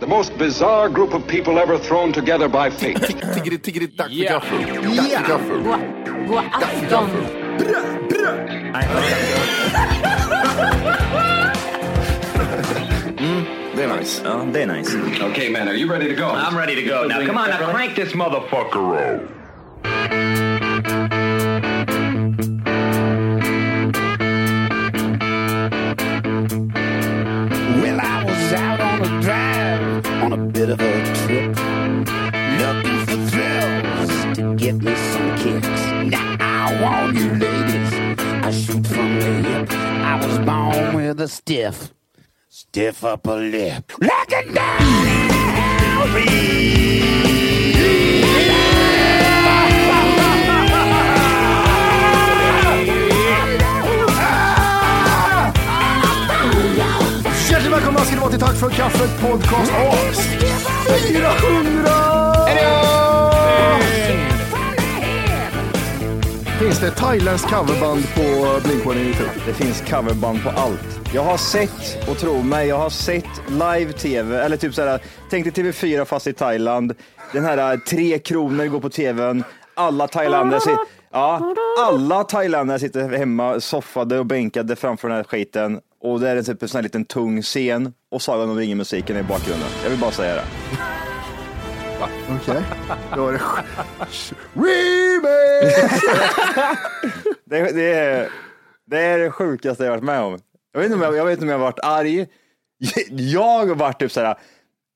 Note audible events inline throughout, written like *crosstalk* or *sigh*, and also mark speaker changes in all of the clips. Speaker 1: The most bizarre group of people ever thrown together by fate.
Speaker 2: Tiggeri, tiggeri, dack för gaffel. Dack för gaffel.
Speaker 3: God afton!
Speaker 2: Det är nice.
Speaker 4: Ja, det är nice.
Speaker 1: okay, man, are you ready to go?
Speaker 4: I'm ready to go now. Come on, now crank this motherfucker up.
Speaker 2: Well, I was out on a drive, on a bit of a trip, looking for thrills to get me some kicks. Now, I want you ladies, I shoot from the hip. I was born with a stiff, stiff upper lip. Lock it down,
Speaker 5: Hjärtligt välkomna ska ni vara till Tack för kaffet podcast avsnitt 400! Finns det thailändsk coverband på Blink-182?
Speaker 6: Det finns coverband på allt. Jag har sett, och tro mig, jag har sett live-tv, eller typ såhär, tänk dig TV4 fast i Thailand. Den här eh, Tre Kronor går på tvn. Alla thailändare, sit, ja, alla thailändare sitter hemma soffade och bänkade framför den här skiten. Och det är typ en sån här liten tung scen och Sagan om ringen-musiken är i bakgrunden. Jag vill bara säga det.
Speaker 5: Okej, då var det... Remake!
Speaker 6: Det, det, är, det är det sjukaste jag varit med om. Jag vet inte om jag, jag, vet inte om jag varit arg. Jag har varit typ såhär,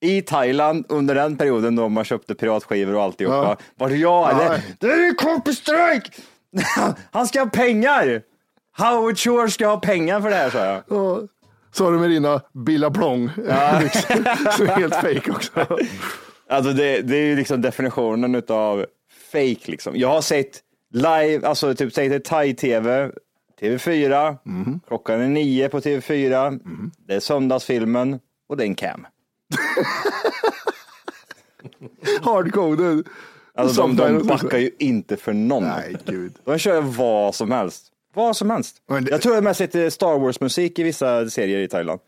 Speaker 6: i Thailand under den perioden då man köpte piratskivor och alltihopa.
Speaker 5: Ja.
Speaker 6: Vart jag
Speaker 5: Ja.
Speaker 6: eller, det är ju Counter-Strike! *laughs* Han ska ha pengar! Howard Shore ska ha pengar för det här sa jag.
Speaker 5: Ja. Sa du med dina Billablong *laughs* Så helt fake också.
Speaker 6: Alltså det, det är ju liksom definitionen utav fake liksom. Jag har sett live, alltså typ säg det thai-tv, TV4,
Speaker 5: Mhm.
Speaker 6: klockan är nio på TV4, det är söndagsfilmen och det är en cam.
Speaker 5: Hardcoded.
Speaker 6: Alltså de, de
Speaker 5: Sometimes-
Speaker 6: backar ju inte för någon.
Speaker 5: Nej, gud.
Speaker 6: De kör vad som helst. Vad som helst.
Speaker 5: Men det-
Speaker 6: Jag tror jag har sett eh, Star Wars-musik i vissa serier i Thailand.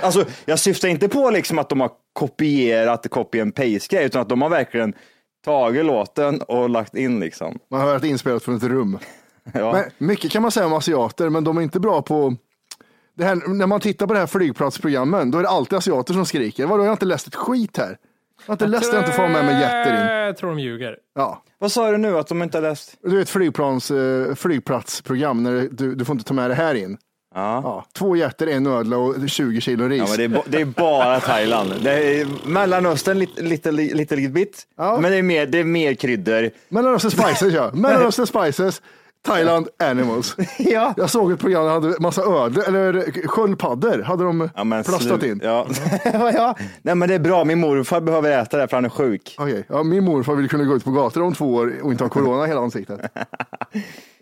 Speaker 6: Alltså, jag syftar inte på liksom att de har kopierat copy and paste-grej, utan att de har verkligen tagit låten och lagt in liksom.
Speaker 5: Man har varit inspelat från ett rum.
Speaker 6: Ja.
Speaker 5: Men mycket kan man säga om asiater, men de är inte bra på... Det här, när man tittar på det här flygplatsprogrammen, då är det alltid asiater som skriker. Vadå, jag har inte läst ett skit här. Jag har inte läst det, jag har inte fått med mig jätter in.
Speaker 7: Eh, Jag tror de ljuger.
Speaker 5: Ja.
Speaker 6: Vad sa du nu att de inte har läst?
Speaker 5: Du vet flygplans, eh, flygplatsprogram, när det- du, du får inte ta med det här in.
Speaker 6: Ja.
Speaker 5: Ja, två jätter, en ödla och 20 kilo ris.
Speaker 6: Ja, men det, är, ba- det är bara Thailand. Det är Mellanöstern lite, lite, lite, lite bit,
Speaker 5: Ja.
Speaker 6: men det är mer, det är mer kryddor.
Speaker 5: Mellanöstern
Speaker 6: *laughs*
Speaker 5: Spices ja. Mellanöstern Spices, Thailand Animals.
Speaker 6: *laughs* Ja.
Speaker 5: Jag såg ett program där de hade massa ödlor, eller sköldpaddor hade de
Speaker 6: Ja, men
Speaker 5: plastat
Speaker 6: slu-
Speaker 5: in. *laughs*
Speaker 6: Ja. ja. Nej, men det är bra. Min morfar behöver äta det här för han är sjuk.
Speaker 5: Okej, ja, min morfar vill kunna gå ut på gator om två år och inte ha corona i hela ansiktet.
Speaker 6: *laughs*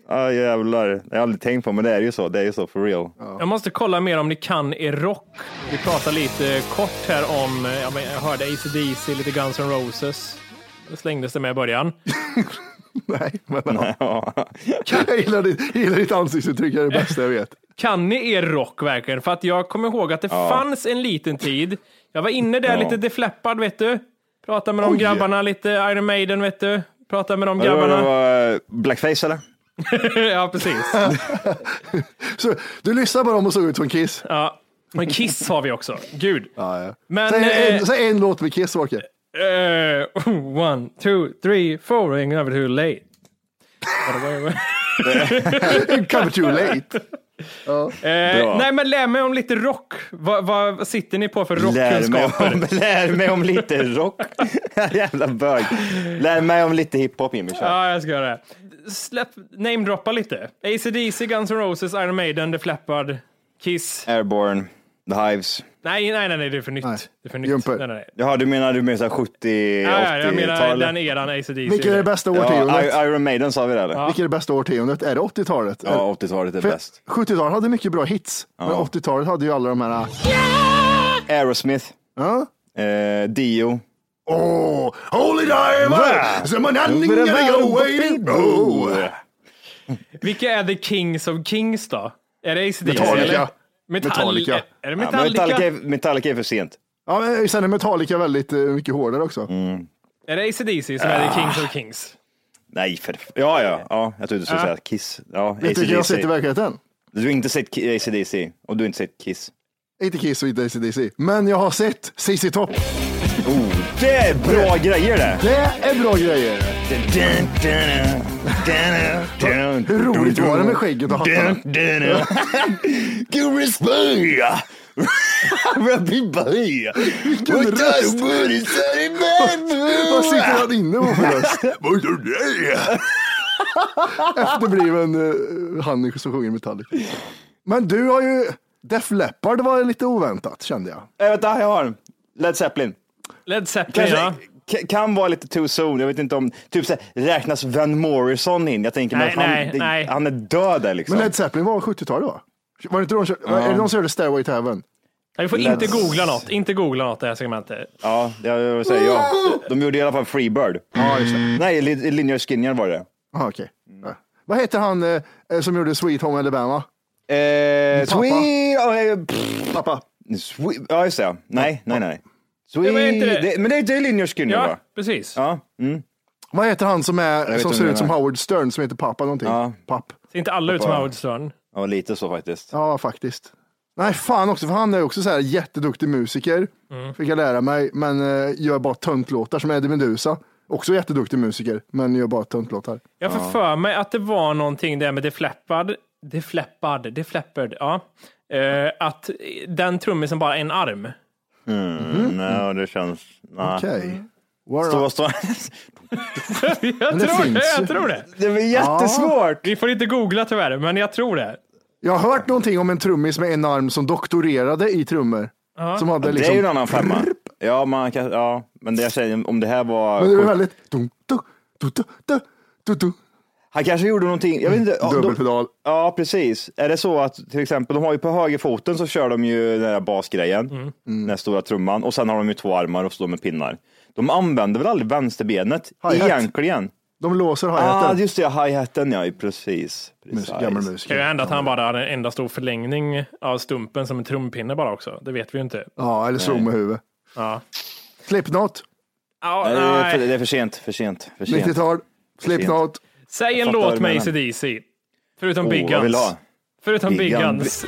Speaker 6: Ja, jävlar. Det har jag aldrig tänkt på, men det är ju så. Det är ju så for real.
Speaker 7: Jag måste kolla mer om ni kan er rock. Vi pratar lite kort här om, eh, ja, men jag hörde AC/DC, lite Guns N' Roses. Det slängdes det med i början.
Speaker 5: Nej, men ja.
Speaker 6: *laughs* Ja.
Speaker 5: jag gillar ditt, jag gillar ditt ansiktsuttryck, det är det bästa jag vet.
Speaker 7: Kan ni er rock verkligen? För att jag kommer ihåg att det fanns en liten tid. Jag var inne där lite defleppad, vet du. Pratade med de grabbarna lite, Iron Maiden, vet du. Pratade med de
Speaker 6: Det var- det
Speaker 7: grabbarna.
Speaker 6: var, eh, Blackface eller?
Speaker 7: *laughs* ja, precis.
Speaker 5: Så, du lyssnar på dem och såg ut som Kiss.
Speaker 7: Ja. Men Kiss har vi också. Gud.
Speaker 5: Ja, ja.
Speaker 7: Men,
Speaker 5: säg,
Speaker 7: eh,
Speaker 5: en, säg en låt med Kiss, Åke.
Speaker 7: Eh, *laughs* one, two, three, four, ain't never too late.
Speaker 5: Cover too late.
Speaker 7: Eh, nej, men lär mig om lite rock. Vad, vad sitter ni på för
Speaker 6: Lär mig,
Speaker 7: rockkunskaper?
Speaker 6: om, *laughs* lär mig om lite rock. *laughs* Jävla bög. Lär mig om lite hiphop Jimmy. kör.
Speaker 7: Ja, jag ska göra det. Släpp, namedroppa lite. AC/DC, Guns N' Roses, Iron Maiden, The Flappard, Kiss.
Speaker 6: Airborne, The Hives.
Speaker 7: Nej, nej, nej, nej det är för nytt.
Speaker 5: Nej.
Speaker 7: Det är för nytt.
Speaker 5: Jumper.
Speaker 7: Nej, nej, nej.
Speaker 6: Jaha, du menar du menar så här 70
Speaker 7: Ja, ja, jag
Speaker 6: 80
Speaker 7: menar den eran
Speaker 5: Vilket är det
Speaker 7: AC/DC.
Speaker 5: bästa
Speaker 6: Ja,
Speaker 5: årtiondet?
Speaker 6: I- Iron Maiden sa vi det eller? Ja,
Speaker 5: Vilket är det bästa årtiondet? Är det 80-talet? Eller-
Speaker 6: 80-talet är
Speaker 5: För
Speaker 6: bäst.
Speaker 5: 70-talet hade mycket bra hits, men 80-talet hade ju alla de här...
Speaker 6: Aerosmith,
Speaker 5: Ja.
Speaker 6: eh, Dio.
Speaker 5: Oh, holy diver! Som en oh, andning Oh.
Speaker 7: Vilka är The Kings of Kings då? Är det AC/DC?
Speaker 5: Metallica.
Speaker 7: eller? Metall-
Speaker 5: Metallica.
Speaker 7: Är det
Speaker 6: Ja, men
Speaker 7: Metallica?
Speaker 6: Metallica, är, Metallica är för sent.
Speaker 5: Ja, men sen är Metallica väldigt eh, mycket hårdare också.
Speaker 7: Är det ACDC som
Speaker 6: Ah.
Speaker 7: är The Kings of Kings?
Speaker 6: Nej, för ja, ja, ja, jag trodde du skulle
Speaker 7: Ja.
Speaker 6: säga Kiss. Ja,
Speaker 5: Vet du vilka jag har sett i
Speaker 6: AC/DC.
Speaker 5: verkligheten?
Speaker 6: Du har inte sett ACDC och du har inte sett Kiss.
Speaker 5: Inte Kiss och inte ACDC, men jag har sett ZZ Top.
Speaker 6: Oh, det är bra grejer det!
Speaker 5: Det är bra grejer. Hur
Speaker 6: Hur
Speaker 5: roligt var det med skägget och hattarna?
Speaker 6: *laughs* Gurus böja!
Speaker 5: *laughs*
Speaker 6: Rabbi böja! Vilken
Speaker 5: röst. Vad sitter han inne på för röst?
Speaker 6: Eh,
Speaker 5: Efterbliven uh, han som sjunger Metallica. Men du har ju... Def Leppard var lite oväntat kände jag.
Speaker 6: Äh, vänta, jag har den. Led Zeppelin.
Speaker 7: Led Zeppelin,
Speaker 6: Kanske,
Speaker 7: ja.
Speaker 6: k- Kan vara lite too soon. Jag vet inte om, typ så här, räknas Van Morrison in? Jag tänker,
Speaker 7: Nej,
Speaker 6: men han,
Speaker 7: nej,
Speaker 6: det,
Speaker 7: nej.
Speaker 6: han är död där liksom.
Speaker 5: Men Led Zeppelin var 70-talet va? Var det inte de som körde, är det de som gjorde Stairway to Heaven?
Speaker 7: Nej, Vi får
Speaker 6: Led-
Speaker 7: inte googla något. Inte googla något i det här segmentet.
Speaker 6: Ja, jag, jag säger ja. De gjorde i alla fall Freebird.
Speaker 5: Ja, just det.
Speaker 6: Nej, Lin- Linear Skinner var det.
Speaker 5: Aha, okej.
Speaker 6: Mm.
Speaker 5: Ja. Vad heter han eh, eh, som gjorde Sweet Home Alabama?
Speaker 6: Eh,
Speaker 5: Pappa.
Speaker 6: Sweet... ja, eh, pff,
Speaker 5: Pappa.
Speaker 6: Sweet... Ja, just det. Nej, nej, nej.
Speaker 7: Det var inte det.
Speaker 6: Sweet... Det, men det, det är Linear Skinner
Speaker 7: Ja,
Speaker 6: va?
Speaker 7: precis.
Speaker 6: Ja. Mm.
Speaker 5: Vad heter han som, är,
Speaker 6: vet
Speaker 5: som
Speaker 6: vem
Speaker 5: ser
Speaker 6: det
Speaker 5: ut som
Speaker 6: är.
Speaker 5: Howard Stern som heter pappa någonting?
Speaker 6: Ja.
Speaker 5: Papp.
Speaker 7: Ser inte alla ut som
Speaker 6: Bara-
Speaker 7: Howard Stern?
Speaker 6: ja, lite så faktiskt.
Speaker 5: Ja, faktiskt. Nej, fan också, för han är också så här jätteduktig musiker.
Speaker 6: Mm.
Speaker 5: Fick jag lära mig, men eh, gör bara töntlåtar som Eddie Meduza. Också jätteduktig musiker, men gör bara töntlåtar.
Speaker 7: Jag får för mig att det var någonting där med The Flappard. The Flappard, The Flappard, ja. Eh, att den trummisen bara är en arm. *laughs*
Speaker 6: Mm. Nej, det känns... Nej.
Speaker 5: Okej.
Speaker 6: Stå, stå. *laughs*
Speaker 7: jag,
Speaker 5: det
Speaker 7: tror det,
Speaker 5: finns ju.
Speaker 7: jag tror det.
Speaker 6: Det var jättesvårt.
Speaker 7: Vi får inte googla tyvärr, men jag tror det.
Speaker 5: Jag har hört någonting om en trummis med en arm som doktorerade i trummor. Som hade
Speaker 6: Det
Speaker 5: liksom...
Speaker 6: är ju en annan femma. Ja, man kan, ja, men det jag säger om det här var...
Speaker 5: Men det är väldigt... Dum, dum, dum, dum, dum, dum, dum.
Speaker 6: Han kanske gjorde någonting, jag vet inte. ja, de-
Speaker 5: Dubbelpedal.
Speaker 6: Ja, precis. Är det så att till exempel, de har ju på högerfoten så kör de ju den där basgrejen,
Speaker 7: Mm.
Speaker 6: den där stora trumman, och sen har de ju två armar och slår med pinnar. De använder väl aldrig vänsterbenet
Speaker 5: Hi-hat.
Speaker 6: egentligen?
Speaker 5: De låser
Speaker 6: Ah,
Speaker 5: hi-haten.
Speaker 6: just det, hi-haten ja, precis. precis.
Speaker 5: Musik- Gammal
Speaker 7: Det kan ju
Speaker 5: musiker.
Speaker 7: hända att han bara hade en enda stor förlängning av stumpen som en trumpinne bara också. Det vet vi ju inte.
Speaker 5: Ja, eller slog med huvudet.
Speaker 7: Ja.
Speaker 5: Slipknot,
Speaker 7: Ja,
Speaker 6: Nej, det, är för,
Speaker 7: nej.
Speaker 6: det är för sent, för sent, för sent.
Speaker 5: 90-tal. Slipknot.
Speaker 7: Säg en
Speaker 6: fattar vad
Speaker 7: låt
Speaker 6: du
Speaker 7: med
Speaker 6: menar.
Speaker 7: ACDC. Förutom Big
Speaker 6: Åh, vad vill du
Speaker 7: Guns.
Speaker 6: ha?
Speaker 7: Förutom Big
Speaker 6: Big Gun. *laughs*
Speaker 7: Guns.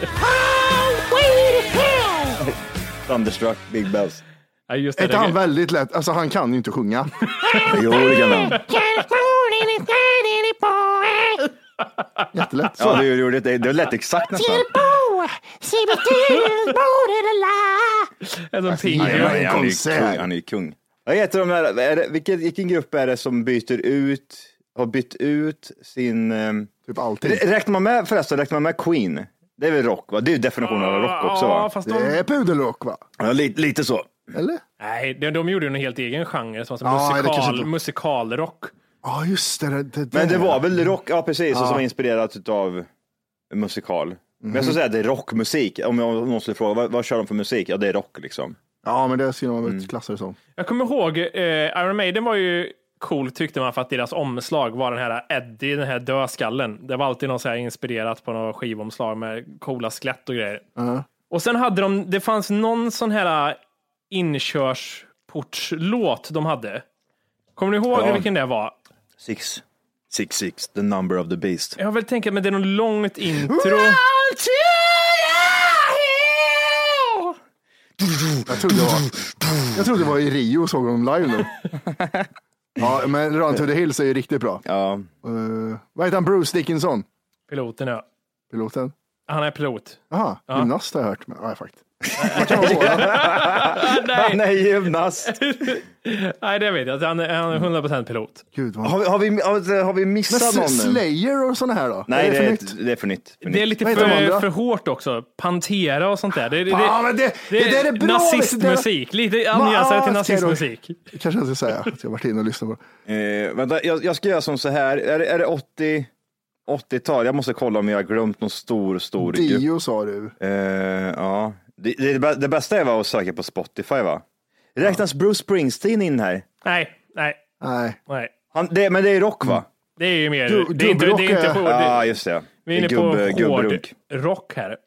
Speaker 6: Thunderstruck, Big Bells.
Speaker 7: Ja, just det.
Speaker 5: Är inte han
Speaker 7: det.
Speaker 5: väldigt lätt? Alltså han kan ju inte
Speaker 7: *laughs*
Speaker 5: sjunga.
Speaker 6: Jo, det kan han.
Speaker 5: Jättelätt. Så.
Speaker 6: Ja, du gjorde det. Det lät exakt nästan.
Speaker 7: Det är som
Speaker 6: Nej,
Speaker 7: Pingu.
Speaker 5: Jajamän.
Speaker 6: han är- han är ju
Speaker 5: Konsert.
Speaker 6: kung. Han är ju kung. Vad heter de där, är det, vilken, vilken grupp är det som byter ut, har bytt ut sin... ehm,
Speaker 5: Typ allting.
Speaker 6: rä- Räknar man med förresten, räknar man med Queen? Det är väl rock va? Det är ju definitionen av rock också
Speaker 7: Ja,
Speaker 6: va?
Speaker 7: fast
Speaker 5: Det
Speaker 7: de,
Speaker 5: är pudelrock va?
Speaker 6: Ja, lite, lite så.
Speaker 5: Eller?
Speaker 7: nej, de, de gjorde ju en helt egen genre, som som
Speaker 5: Ja, det kanske
Speaker 7: musikal,
Speaker 5: inte-
Speaker 7: musikalrock.
Speaker 5: Ja, just det. det, det
Speaker 6: Men det
Speaker 5: där.
Speaker 6: var väl rock, ja Mhm. precis, och som var inspirerat av musikal. Men jag skulle säga att det är rockmusik. Om jag- om någon skulle fråga, vad, vad kör de för musik? Ja, det är rock liksom.
Speaker 5: Ja, men det skulle man
Speaker 6: Mm.
Speaker 5: väl klassa det som.
Speaker 7: Jag kommer ihåg, eh, Iron Maiden var ju cool tyckte man för att deras omslag var den här Eddie, den här dödskallen. Det var alltid något så här inspirerat på några skivomslag med coola skelett och grejer.
Speaker 5: Ja.
Speaker 7: Och sen hade de, det fanns någon sån här inkörsportslåt de hade. Kommer ni ihåg
Speaker 6: Ja.
Speaker 7: vilken det var?
Speaker 6: Six. Six, six, the number of the beast.
Speaker 7: Jag har väl tänkt men det är något långt intro.
Speaker 5: Jag trodde det var, jag trodde det var i Rio och såg dem live nu.
Speaker 6: *laughs*
Speaker 5: Ja, men Run to the Hills är ju riktigt bra.
Speaker 6: Ja.
Speaker 5: Eh, vad heter han? Bruce Dickinson?
Speaker 7: Piloten ja.
Speaker 5: Piloten?
Speaker 7: Han är pilot.
Speaker 5: Jaha, Ah, gymnast har jag hört. Men, nej, *laughs* fakt.
Speaker 7: *laughs*
Speaker 6: Han är gymnast.
Speaker 7: *laughs* Nej, det vet jag. Han är, han är 100% pilot.
Speaker 5: Gud, vad...
Speaker 6: Har vi, har vi, har, har vi
Speaker 5: Men
Speaker 6: missat
Speaker 5: S-
Speaker 6: någon nu?
Speaker 5: Slayer och sådana här då?
Speaker 6: Nej,
Speaker 5: är det för
Speaker 6: det,
Speaker 5: nytt?
Speaker 6: är, det är för nytt. För nytt.
Speaker 7: Det är lite
Speaker 5: Typ Vad heter de
Speaker 7: för,
Speaker 5: andra?
Speaker 7: för hårt också. Pantera och sånt där. Det, det,
Speaker 5: Ja, men det- det där är bra,
Speaker 7: nazistmusik. Lite anjasare
Speaker 5: Ah,
Speaker 7: till
Speaker 5: ser du.
Speaker 7: nazistmusik.
Speaker 5: kanske jag ska säga att jag varit inne och lyssnat på det.
Speaker 6: Eh, vänta, jag, jag ska göra som så här. Är, det- är det 80? 80-tal? Jag måste kolla om jag har glömt någon stor, stor grupp.
Speaker 5: Dio sa du.
Speaker 6: Eh, ja. det, det, bä- det bästa är va, att söka på Spotify va? Räknas Bruce Springsteen in här?
Speaker 7: Nej, nej,
Speaker 5: Nej.
Speaker 7: nej.
Speaker 6: Han, det, men det är rock va?
Speaker 7: Det är ju mer...
Speaker 5: Du-
Speaker 7: det, är inte, det är
Speaker 5: dubbelrock
Speaker 7: inte
Speaker 5: är-
Speaker 7: på,
Speaker 6: Ja,
Speaker 7: Mm. det,
Speaker 6: Ah, just det.
Speaker 7: vi är inne
Speaker 6: Det är
Speaker 7: på hård
Speaker 6: gubbrunk.
Speaker 7: rock här.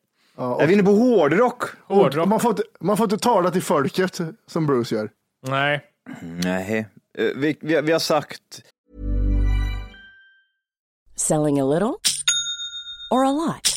Speaker 6: Är vi inne på hårdrock?
Speaker 7: Hårdrock?
Speaker 5: Man får, inte, man får inte tala till folket som Bruce gör.
Speaker 7: Nej.
Speaker 6: Nej. Eh, Vi, vi, vi har sagt
Speaker 8: Selling a little or a lot?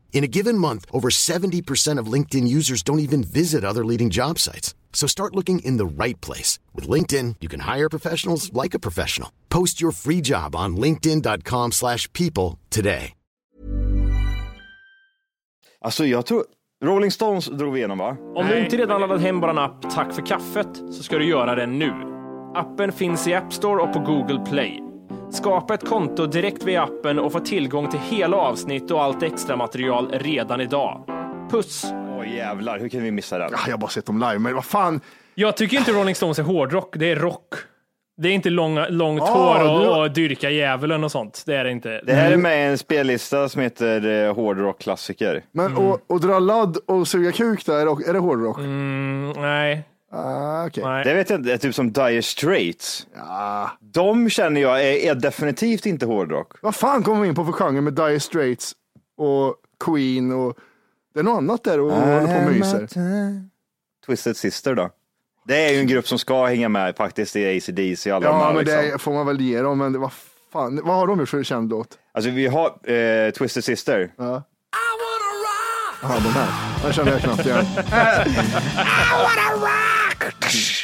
Speaker 9: In a given month, over 70% of LinkedIn users don't even visit other leading job sites. So start looking in the right place. With LinkedIn, you can hire professionals like a professional. Post your free job on linkedin.com/people slash people today.
Speaker 6: Alltså jag tror Rolling Stones drog vi igenom va?
Speaker 7: Om du inte redan laddat hem bara en app Tack för kaffet så ska du göra det nu. Appen finns i App Store och på Google Play. Skapa ett konto direkt via appen och få tillgång till hela avsnitt och allt extra material redan idag. Puss!
Speaker 6: Åh jävlar, hur kan vi missa det?
Speaker 5: Ah, Jag har bara sett dem live, men vad fan.
Speaker 7: Jag tycker inte Rolling Stones är hårdrock, det är rock. Det är inte långa, långt
Speaker 5: Ah,
Speaker 7: hår och,
Speaker 5: du-
Speaker 7: och dyrka djävulen och sånt. Det är det inte.
Speaker 6: Det här är med i en spellista som heter eh, hårdrockklassiker.
Speaker 5: Men
Speaker 7: Mm.
Speaker 5: och, och dra ladd och suga kuk där, och- är det hårdrock?
Speaker 7: Nej.
Speaker 5: Ah, okej.
Speaker 7: Mm. Nej.
Speaker 6: Det vet jag inte, det är typ som Dire Straits.
Speaker 5: Ja.
Speaker 6: De känner jag är, är definitivt inte hårdrock.
Speaker 5: Vad fan kommer vi in på för genre med Dire Straits och Queen och det är något annat där och håller på och myser.
Speaker 6: Twisted Sister då? Det är ju en grupp som ska hänga med faktiskt i ACDC och alla de
Speaker 5: Ja,
Speaker 6: här.
Speaker 5: men
Speaker 6: liksom.
Speaker 5: det får man väl ge dem, men det- vad fan, vad har de gjort för känd låt?
Speaker 6: Alltså vi har eh, Twisted Sister.
Speaker 5: Ja. Jaha, de här. Den känner jag knappt igen.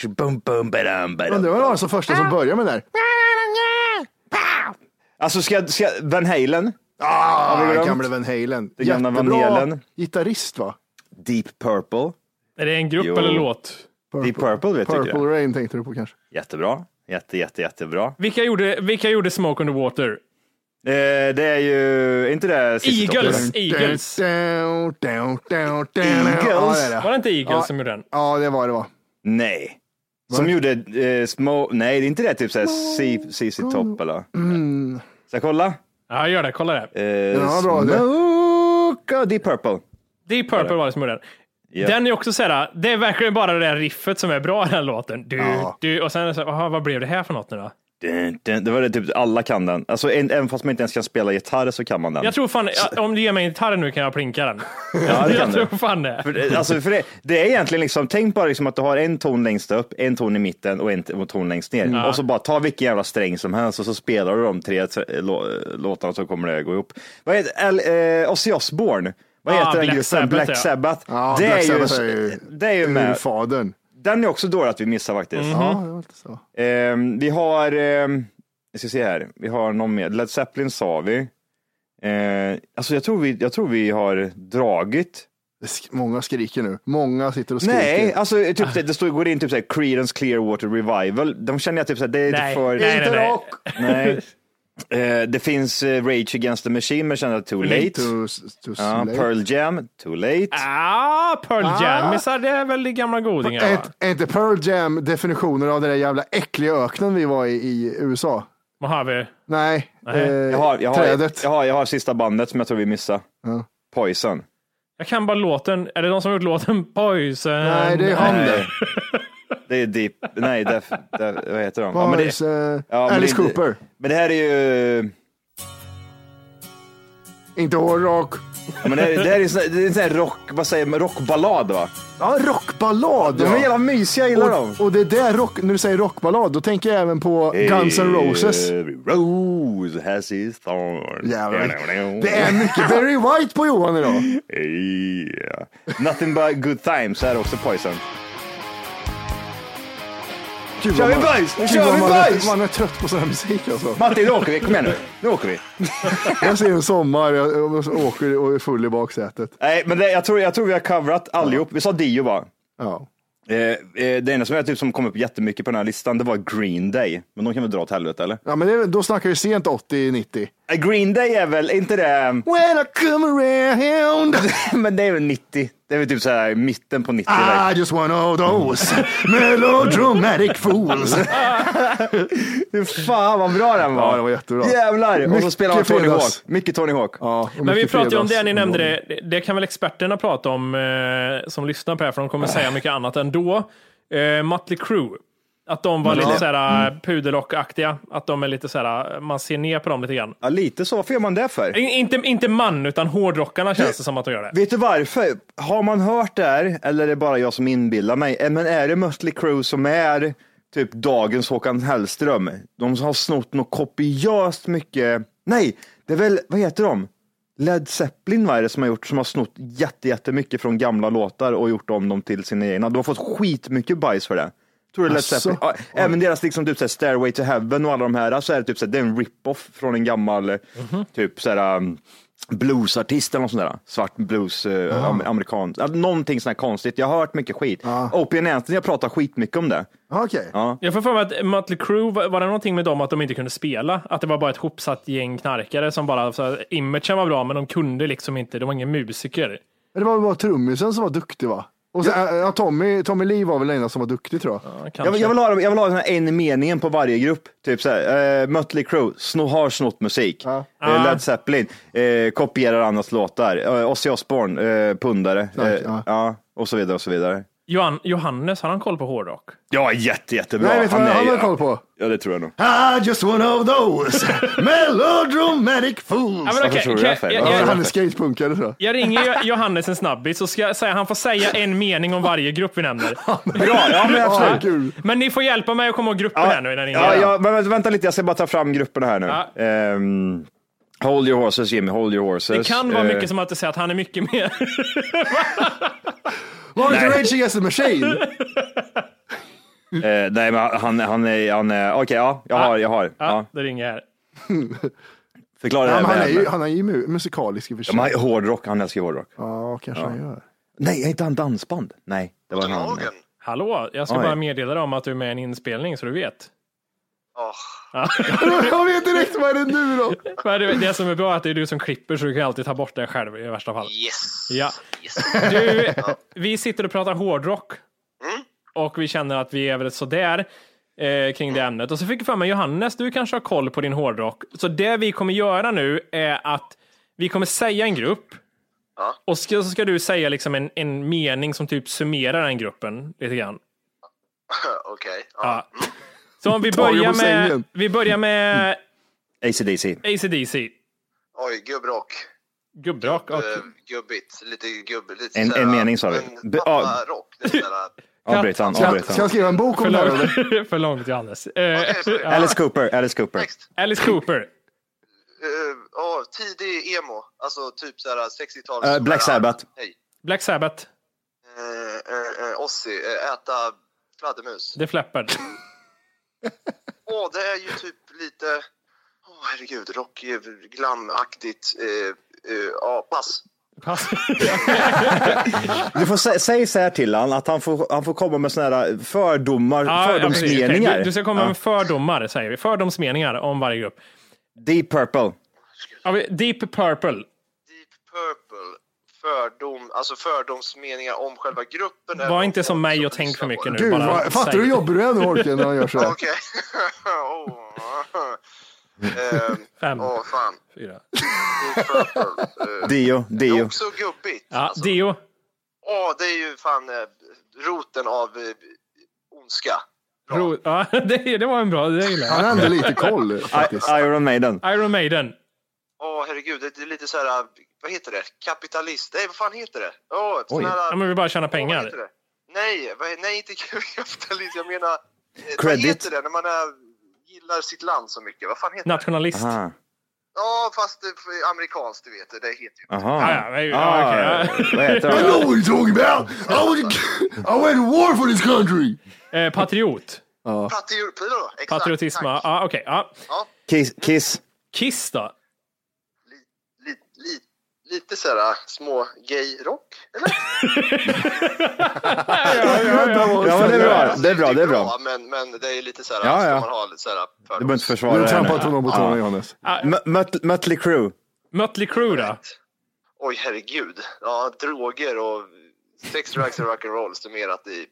Speaker 6: Bum, bum, badum, badum.
Speaker 5: Undrar vad det var alltså första som började med det där.
Speaker 6: Alltså ska, ska Van Halen,
Speaker 5: Ah,
Speaker 6: vi glömt?
Speaker 5: gamle Van Halen.
Speaker 6: Det gamla Van Halen.
Speaker 5: gitarrist va?
Speaker 6: Deep Purple,
Speaker 7: Är det en grupp
Speaker 6: Jo.
Speaker 7: eller låt?
Speaker 6: Deep Purple vet jag
Speaker 5: Purple
Speaker 6: tycker jag.
Speaker 5: Rain tänkte du på kanske.
Speaker 6: Jättebra. Jätte, jätte, jättebra.
Speaker 7: Vilka gjorde, vilka gjorde Smoke on the Water?
Speaker 6: Eh, det är ju, är inte det Sissy Toppers?
Speaker 7: Eagles. Eagles.
Speaker 5: Down, down, down, down.
Speaker 6: Eagles?
Speaker 5: Ja, det är det.
Speaker 7: Var det inte Eagles
Speaker 5: Ja.
Speaker 7: som gjorde den?
Speaker 5: Ja, det var det va.
Speaker 6: Nej. Som gjorde eh, små, nej det är inte det typ såhär C- CC Top eller? Ska jag kolla?
Speaker 7: Ja, gör det. Kolla det.
Speaker 6: Eh,
Speaker 5: var bra, det.
Speaker 6: Smoke och Deep Purple.
Speaker 7: Deep Purple var det som gjorde den.
Speaker 6: Yep.
Speaker 7: Den är också så här, det är verkligen bara det där riffet som är bra i den här låten. Du, du, och sen är det så här, aha, vad blev det här för något nu då?
Speaker 6: Dun, dun. Det var det typ, alla kan den. Alltså en, även fast man inte ens kan spela gitarr så kan man den.
Speaker 7: Jag tror fan, ja, om du ger mig en gitarr nu kan jag plinka den.
Speaker 6: ja, det kan
Speaker 7: jag
Speaker 6: du.
Speaker 7: tror fan det.
Speaker 6: För, eh, alltså, för det, det är egentligen liksom, tänk bara liksom att du har en ton längst upp, en ton i mitten och en t- och ton längst ner. Och så bara ta vilken jävla sträng som helst och så spelar du de tre t- lå- låtarna så kommer det gå ihop. Vad heter, L, eh, Ozzy Osbourne, vad
Speaker 7: Ah,
Speaker 6: heter den
Speaker 7: Black
Speaker 6: gruppen?
Speaker 7: Sabbath,
Speaker 6: Black
Speaker 7: ja.
Speaker 6: Sabbath.
Speaker 5: Ja,
Speaker 6: det,
Speaker 5: Black
Speaker 6: är
Speaker 5: Sabbath
Speaker 6: ju,
Speaker 5: är ju-
Speaker 6: det är ju med.
Speaker 5: Urfadern.
Speaker 6: Den är också dålig att vi missar faktiskt.
Speaker 7: Mhm.
Speaker 5: Ja, det var inte så.
Speaker 6: Ehm, vi har, ehm, jag ska se här, vi har någon mer. Led Ehm, Zeppelin sa vi. Eh, alltså jag tror vi, jag tror vi har dragit
Speaker 5: Det sk- Många skriker nu. Många sitter och skriker. Ah.
Speaker 6: Nej, alltså typ, det, det står, går in typ såhär Creedence Clearwater Revival. De känner jag typ såhär, det är
Speaker 7: Nej,
Speaker 6: inte för...
Speaker 7: nej, Inte nej, nej. rock!
Speaker 6: Nej. Eh, det finns eh, Rage Against the Machine, men jag känner att too late.
Speaker 5: Mm. Too, too
Speaker 6: ja,
Speaker 5: late.
Speaker 6: Pearl Jam, too late.
Speaker 7: Ah, Pearl
Speaker 5: Ah.
Speaker 7: Jamisar, det är väl de gamla godingarna? va?
Speaker 5: Är- Är inte Pearl Jam definitioner av den där jävla äckliga öknen vi var i i USA?
Speaker 7: Vad har vi?
Speaker 5: Nej,
Speaker 7: Nej.
Speaker 5: Eh,
Speaker 6: Jag har, jag, har,
Speaker 5: trädet.
Speaker 6: jag, har, jag har sista bandet som jag tror vi missade.
Speaker 5: Ja.
Speaker 6: Poison.
Speaker 7: Jag kan bara låten. Är det de som har gjort låten Poison?
Speaker 5: Nej, det är han
Speaker 6: Nej.
Speaker 5: där.
Speaker 6: Eh, Det är Deep... Nej, def, def, vad heter de? Ja, men det,
Speaker 5: Boys, eh,
Speaker 6: ja, men
Speaker 5: Alice
Speaker 6: det-
Speaker 5: Cooper.
Speaker 6: men det här är ju...
Speaker 5: Inte hårdrock.
Speaker 6: Ja, men det, här, det här är ju sån, det är en sån här rock... Vad säger man? Rockballad va?
Speaker 5: Ja, rockballad.
Speaker 6: De är
Speaker 5: Ja.
Speaker 6: jävla mysiga, jag gillar dem. Eh,
Speaker 5: Och, och det är där rock, när du säger rockballad, då tänker jag även på Guns N' Roses.
Speaker 6: Every rose has its thorn.
Speaker 5: Jävlar. Det är mycket Barry White på Johan idag.
Speaker 6: Yeah. Nothing but good times är också Poison.
Speaker 5: Gud,
Speaker 6: Kör
Speaker 5: vad
Speaker 6: vi
Speaker 5: man-
Speaker 6: boys! Nu
Speaker 5: Gud,
Speaker 6: kör
Speaker 5: vad
Speaker 6: vi
Speaker 5: man är-
Speaker 6: boys!
Speaker 5: Man är trött på sån här musik alltså.
Speaker 6: *laughs* Matti, nu åker vi. Kom igen nu. Nu åker vi.
Speaker 5: Jag ser en sommar, jag, jag åker och är full i baksätet.
Speaker 6: Nej, men det, jag, tror, jag tror vi har coverat allihop. Vi sa Dio bara.
Speaker 5: Ja.
Speaker 6: Eh, eh, det enda som, jag typ, som kom upp jättemycket på den här listan, det var Green Day. Men de kan väl dra åt helvete eller?
Speaker 5: Ja, men det, då snackar vi sent 80-90.
Speaker 6: Eh, Green Day är väl, är inte det, *laughs*
Speaker 5: When I come around
Speaker 6: men det är väl 90? Det är väl typ så här mitten på 90.
Speaker 5: I
Speaker 6: där.
Speaker 5: just want all those melodramatic *laughs* fools.
Speaker 6: Hur fan vad bra den var.
Speaker 5: Ja, den var jättebra.
Speaker 6: Jävlar! Och så
Speaker 5: Mycket
Speaker 6: spelar han Tony
Speaker 5: fredags.
Speaker 6: Hawk. Mycket Tony Hawk.
Speaker 5: Ja, och
Speaker 7: Men vi
Speaker 5: mycket
Speaker 7: pratade ju om det,
Speaker 5: fredags-
Speaker 7: ni nämnde det. Det kan väl experterna prata om eh, som lyssnar på det här, för de kommer säga mycket annat ändå. Eh, Mötley Crüe. Att de var lite såhär mm. puderlockaktiga. Att de är lite såhär, man ser ner på dem lite grann.
Speaker 6: Ja, lite så. Varför gör man det för?
Speaker 7: In, inte, inte man, utan hårdrockarna känns det som att de gör det.
Speaker 6: Vet du varför? Har man hört det här, eller är det bara jag som inbillar mig? Eh, Men är det Mötley Crüe som är typ dagens Håkan Hellström? De har snott något kopiöst mycket. Nej, det är väl, vad heter de? Led Zeppelin vad är det som har gjort, som har snott jätte, jättemycket från gamla låtar och gjort om dem till sina egna. De har fått skitmycket bajs för det. Tror du Led
Speaker 5: Asså?
Speaker 6: Zeppelin? Ja, även deras liksom typ såhär Stairway to Heaven och alla de här, så är det typ såhär, det är en rip-off från en gammal eh,
Speaker 5: Mhm.
Speaker 6: typ såhär um, bluesartist eller något sånt där. Svart blues, eh, am- amerikan, ja, någonting sånt här konstigt. Jag har hört mycket skit.
Speaker 5: Ja.
Speaker 6: Opian Anthony har pratat skitmycket om det.
Speaker 5: Ja, Okej.
Speaker 6: Ja.
Speaker 7: Jag får för mig att Mötley Crüe, var var det någonting med dem att de inte kunde spela? Att det var bara ett hopsatt gäng knarkare som bara, så här, imagen var bra, men de kunde liksom inte, de var ingen musiker.
Speaker 5: Det var väl bara trummisen som var duktig va? Och sen, ja, Tommy, Tommy Lee var väl den enda som var duktig tror jag.
Speaker 7: Ja,
Speaker 6: Jag,
Speaker 7: kanske.
Speaker 6: vill- jag vill ha, dem- jag vill ha den här en meningen på varje grupp. Typ såhär, eh, Mötley Crüe sno, har snott musik.
Speaker 5: Ja.
Speaker 6: Eh,
Speaker 7: Ah.
Speaker 6: Led Zeppelin eh, kopierar andras låtar. Eh, Ozzy Osbourne, eh, pundare.
Speaker 5: Tack,
Speaker 6: eh,
Speaker 5: ja.
Speaker 6: ja, och så vidare och så vidare.
Speaker 7: Johan, Johannes, har han koll på hårdrock?
Speaker 6: Ja, jätte, jättebra.
Speaker 5: Nej, vet du vad
Speaker 6: är
Speaker 5: han
Speaker 6: ju-
Speaker 5: har koll på?
Speaker 6: Ja, det tror jag nog.
Speaker 5: I just one of those melodramatic
Speaker 7: Ja,
Speaker 5: fools.
Speaker 7: men
Speaker 6: Varför
Speaker 7: okej,
Speaker 6: tror du
Speaker 7: kan-
Speaker 6: det för?
Speaker 7: jag-
Speaker 6: Varför
Speaker 7: jag-
Speaker 6: tror
Speaker 5: Han är skatepunkare tror jag.
Speaker 7: Jag ringer ju
Speaker 6: *laughs*
Speaker 7: Johannes en snabbis så ska jag säga han får säga en mening om varje grupp vi nämner.
Speaker 6: Bra, *laughs* ja men absolut.
Speaker 5: Ja, kul.
Speaker 7: Men ni får hjälpa mig att komma ihåg grupper här nu när ni ringer.
Speaker 6: Ja, ja, men vänta- vänta lite, jag ska bara ta fram grupperna här nu.
Speaker 7: Ja.
Speaker 6: Ehm, hold your horses Jimmy, hold your horses.
Speaker 7: Det kan vara
Speaker 6: Eh,
Speaker 7: mycket som att du säger att han är mycket mer. *laughs*
Speaker 5: Var det inte Rage Against the Machine?
Speaker 6: eh, nej, men han, han är, han är, okej, ja, jag har, jag har.
Speaker 7: Ja,
Speaker 6: Ja.
Speaker 7: det ringer jag här.
Speaker 6: Förklara det
Speaker 5: Ja,
Speaker 6: här
Speaker 5: men han, är
Speaker 6: med-
Speaker 5: ju, han är ju mu- musikalisk i och för
Speaker 6: Ja, men han
Speaker 5: sig.
Speaker 6: är hårdrock, han älskar ju hårdrock.
Speaker 5: Ja, kanske han gör. *laughs*
Speaker 6: Nej, är inte han dansband? Nej, det var en annan.
Speaker 7: Hallå, jag ska
Speaker 6: Oj.
Speaker 7: bara meddela dig om att du är med i en inspelning så du vet.
Speaker 5: Jag vet direkt, vad är det nu då?
Speaker 7: Men det, det som är bra är att det är du som klipper så du kan alltid ta bort det själv i värsta fall.
Speaker 10: Yes.
Speaker 7: Ja.
Speaker 10: yes.
Speaker 7: Du, vi sitter och pratar hårdrock.
Speaker 10: Mm.
Speaker 7: Och vi känner att vi är väl sådär eh, kring det ämnet. Och så fick jag för mig, Johannes, du kanske har koll på din hårdrock. Så det vi kommer göra nu är att vi kommer säga en grupp.
Speaker 10: Ja.
Speaker 7: Och ska, så ska du säga liksom en, en mening som typ summerar den gruppen lite grann.
Speaker 10: *laughs* Okej. Mm.
Speaker 7: Ja. Så om vi
Speaker 5: Tagen på
Speaker 7: börjar med,
Speaker 5: sängen.
Speaker 7: vi börjar med
Speaker 6: ACDC.
Speaker 7: ACDC.
Speaker 10: Oj, gubbrock.
Speaker 7: Gubbrock. Och,
Speaker 10: Eh, Gubbigt. Lite gubb... Lite
Speaker 6: En-
Speaker 10: sådär,
Speaker 6: en mening, sa du?
Speaker 10: men
Speaker 6: Be- ah. ja.
Speaker 10: Papparock. lite sådär.
Speaker 6: Avbryt han,
Speaker 5: Ska,
Speaker 6: avbryt
Speaker 5: ska jag
Speaker 6: han.
Speaker 5: skriva en bok om det här eller?
Speaker 7: *laughs* för, för långt, Johannes. Eh,
Speaker 10: Okej,
Speaker 7: *laughs*
Speaker 10: sorry.
Speaker 6: Alice Cooper, Alice Cooper.
Speaker 10: Next.
Speaker 7: Alice Cooper.
Speaker 10: Eh, ja, tidig emo. Alltså typ såhär 60-tals...
Speaker 6: Eh, Black Sabbath.
Speaker 10: Hej.
Speaker 7: Black Sabbath.
Speaker 10: Eh, eh, eh, Ozzy. Eh, äta fladdermus. *laughs*
Speaker 7: The Flappard.
Speaker 10: Åh, det är ju typ lite... Åh, herregud. Rock, glamaktigt. Eh, eh, Ja, pass.
Speaker 7: *laughs*
Speaker 6: Du får sä säg så här till han att han får, han får komma med såna här eh, fördomar,
Speaker 7: Ja, ja, precis.
Speaker 6: fördomsmeningar.
Speaker 7: Okej, du, du ska komma
Speaker 6: Ja.
Speaker 7: med fördomar, säger vi. Fördomsmeningar om varje grupp.
Speaker 6: Deep Purple.
Speaker 7: Ja, vi- Deep Purple.
Speaker 10: Purple, fördom, alltså fördomsmeningar om själva gruppen. eller
Speaker 7: Var
Speaker 10: om
Speaker 7: inte som
Speaker 10: folk
Speaker 7: mig och
Speaker 10: som
Speaker 7: tänk
Speaker 10: lyssnar
Speaker 7: för
Speaker 10: på
Speaker 7: mycket
Speaker 10: det?
Speaker 7: nu.
Speaker 5: Gud,
Speaker 7: bara
Speaker 5: vad, fattar
Speaker 7: säg
Speaker 5: du hur
Speaker 7: det.
Speaker 5: jobbig du är nu Holken när han gör så här?
Speaker 10: *laughs* Okej. oh. um,
Speaker 7: Fem.
Speaker 10: Åh, fan.
Speaker 7: Fyra.
Speaker 10: Deep Purple. eh,
Speaker 6: Dio,
Speaker 10: Det är
Speaker 6: Dio.
Speaker 10: också gubbigt. alltså.
Speaker 7: Ja, Dio.
Speaker 10: Åh, det är ju fan eh, roten av eh, ondska.
Speaker 7: Ro- ja, *laughs* det, det var en bra, det gillar jag.
Speaker 5: Han har ändå lite koll faktiskt.
Speaker 6: I- Iron Maiden.
Speaker 7: Iron Maiden.
Speaker 10: Åh, herregud, det är lite så här, eh, vad heter det? Kapitalist? Nej, vad fan heter det? Åh, sån
Speaker 6: Oj.
Speaker 10: här...
Speaker 7: Ja, men vi bara tjäna
Speaker 10: Vad
Speaker 7: pengar.
Speaker 10: heter det? Nej, vad, nej, inte *laughs* kapitalist. Jag menar... eh, Vad
Speaker 6: Credit.
Speaker 10: heter det när man är, gillar sitt land så mycket? Vad fan heter det?
Speaker 7: Nationalist.
Speaker 6: Aha.
Speaker 10: Ja, fast det är amerikanskt, du vet. Det heter ju...
Speaker 6: Aha. Ah,
Speaker 7: Ja, ja, men- ja, okej, ja.
Speaker 6: Vad heter
Speaker 5: I know
Speaker 6: han?
Speaker 5: what you're talking about! I was, I went to war for this country!
Speaker 7: Eh, patriot.
Speaker 10: Patriot, exakt.
Speaker 7: Patriotism. Ja,
Speaker 10: tack.
Speaker 7: ah, okej. ja.
Speaker 6: Kiss. Kiss.
Speaker 7: Kiss då?
Speaker 10: Li, li, lite så här små gay-rock, eller?
Speaker 6: Ja, men det är bra. Det är bra, det är bra.
Speaker 10: Alltså, men, men det är lite så här,
Speaker 6: Ja, ja.
Speaker 10: ska man ha lite så här
Speaker 6: Du behöver inte
Speaker 5: Du har
Speaker 6: försvara
Speaker 5: trampat
Speaker 6: henne.
Speaker 5: honom på tårna Johannes.
Speaker 6: M- Möt- Mötley Crüe.
Speaker 7: Mötley Crüe då?
Speaker 10: Oj, herregud. Ja, droger och sex, drugs och rock'n'roll summerat i ett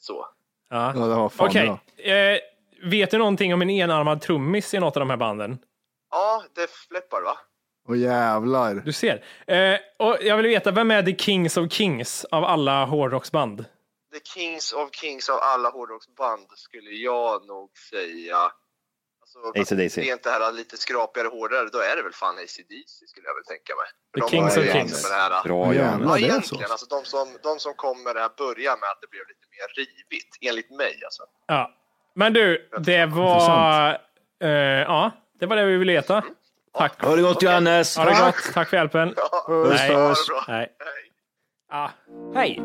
Speaker 10: så.
Speaker 7: Ja.
Speaker 5: Ja, det var fan
Speaker 7: Okej.
Speaker 5: bra.
Speaker 7: Eh, vet du någonting om en enarmad trummis i något av de här banden?
Speaker 10: Ja, det fläppar va?
Speaker 5: Åh jävlar.
Speaker 7: Du ser. Eh, och jag vill veta, vem är The Kings of Kings av alla hårdrocksband?
Speaker 10: The Kings of Kings av alla hårdrocksband skulle jag nog säga. Alltså,
Speaker 6: AC/DC.
Speaker 10: Det är inte här lite skrapigare hårdare, då är det väl fan ACDC skulle jag väl tänka mig.
Speaker 7: The
Speaker 10: De
Speaker 7: Kings
Speaker 10: var
Speaker 7: of
Speaker 10: ju
Speaker 7: Kings.
Speaker 10: med det här-
Speaker 6: Bra Johannes.
Speaker 5: Ja,
Speaker 10: Ja,
Speaker 5: det är så.
Speaker 10: egentligen. Alltså, de, som, de som kom med det här börjar med att det blev lite mer rivigt, enligt mig. Alltså.
Speaker 7: Ja. Men du, det var... Eh, ja, det var det vi ville veta. Tack.
Speaker 6: Ha det gott Johannes.
Speaker 7: Ha det gott. Tack för hjälpen. Nej.
Speaker 10: Ja, det är bra.
Speaker 7: Nej. Ah, hej!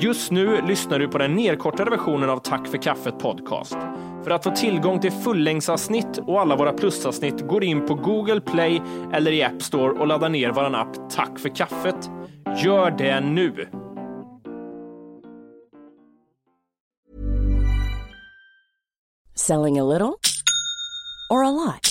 Speaker 7: Just nu lyssnar du på den nedkortade versionen av Tack för kaffet podcast. För att få tillgång till fullängdsavsnitt och alla våra plusavsnitt går in på Google Play eller i App Store och laddar ner vår app Tack för kaffet. Gör det nu!
Speaker 8: Selling a little or a lot?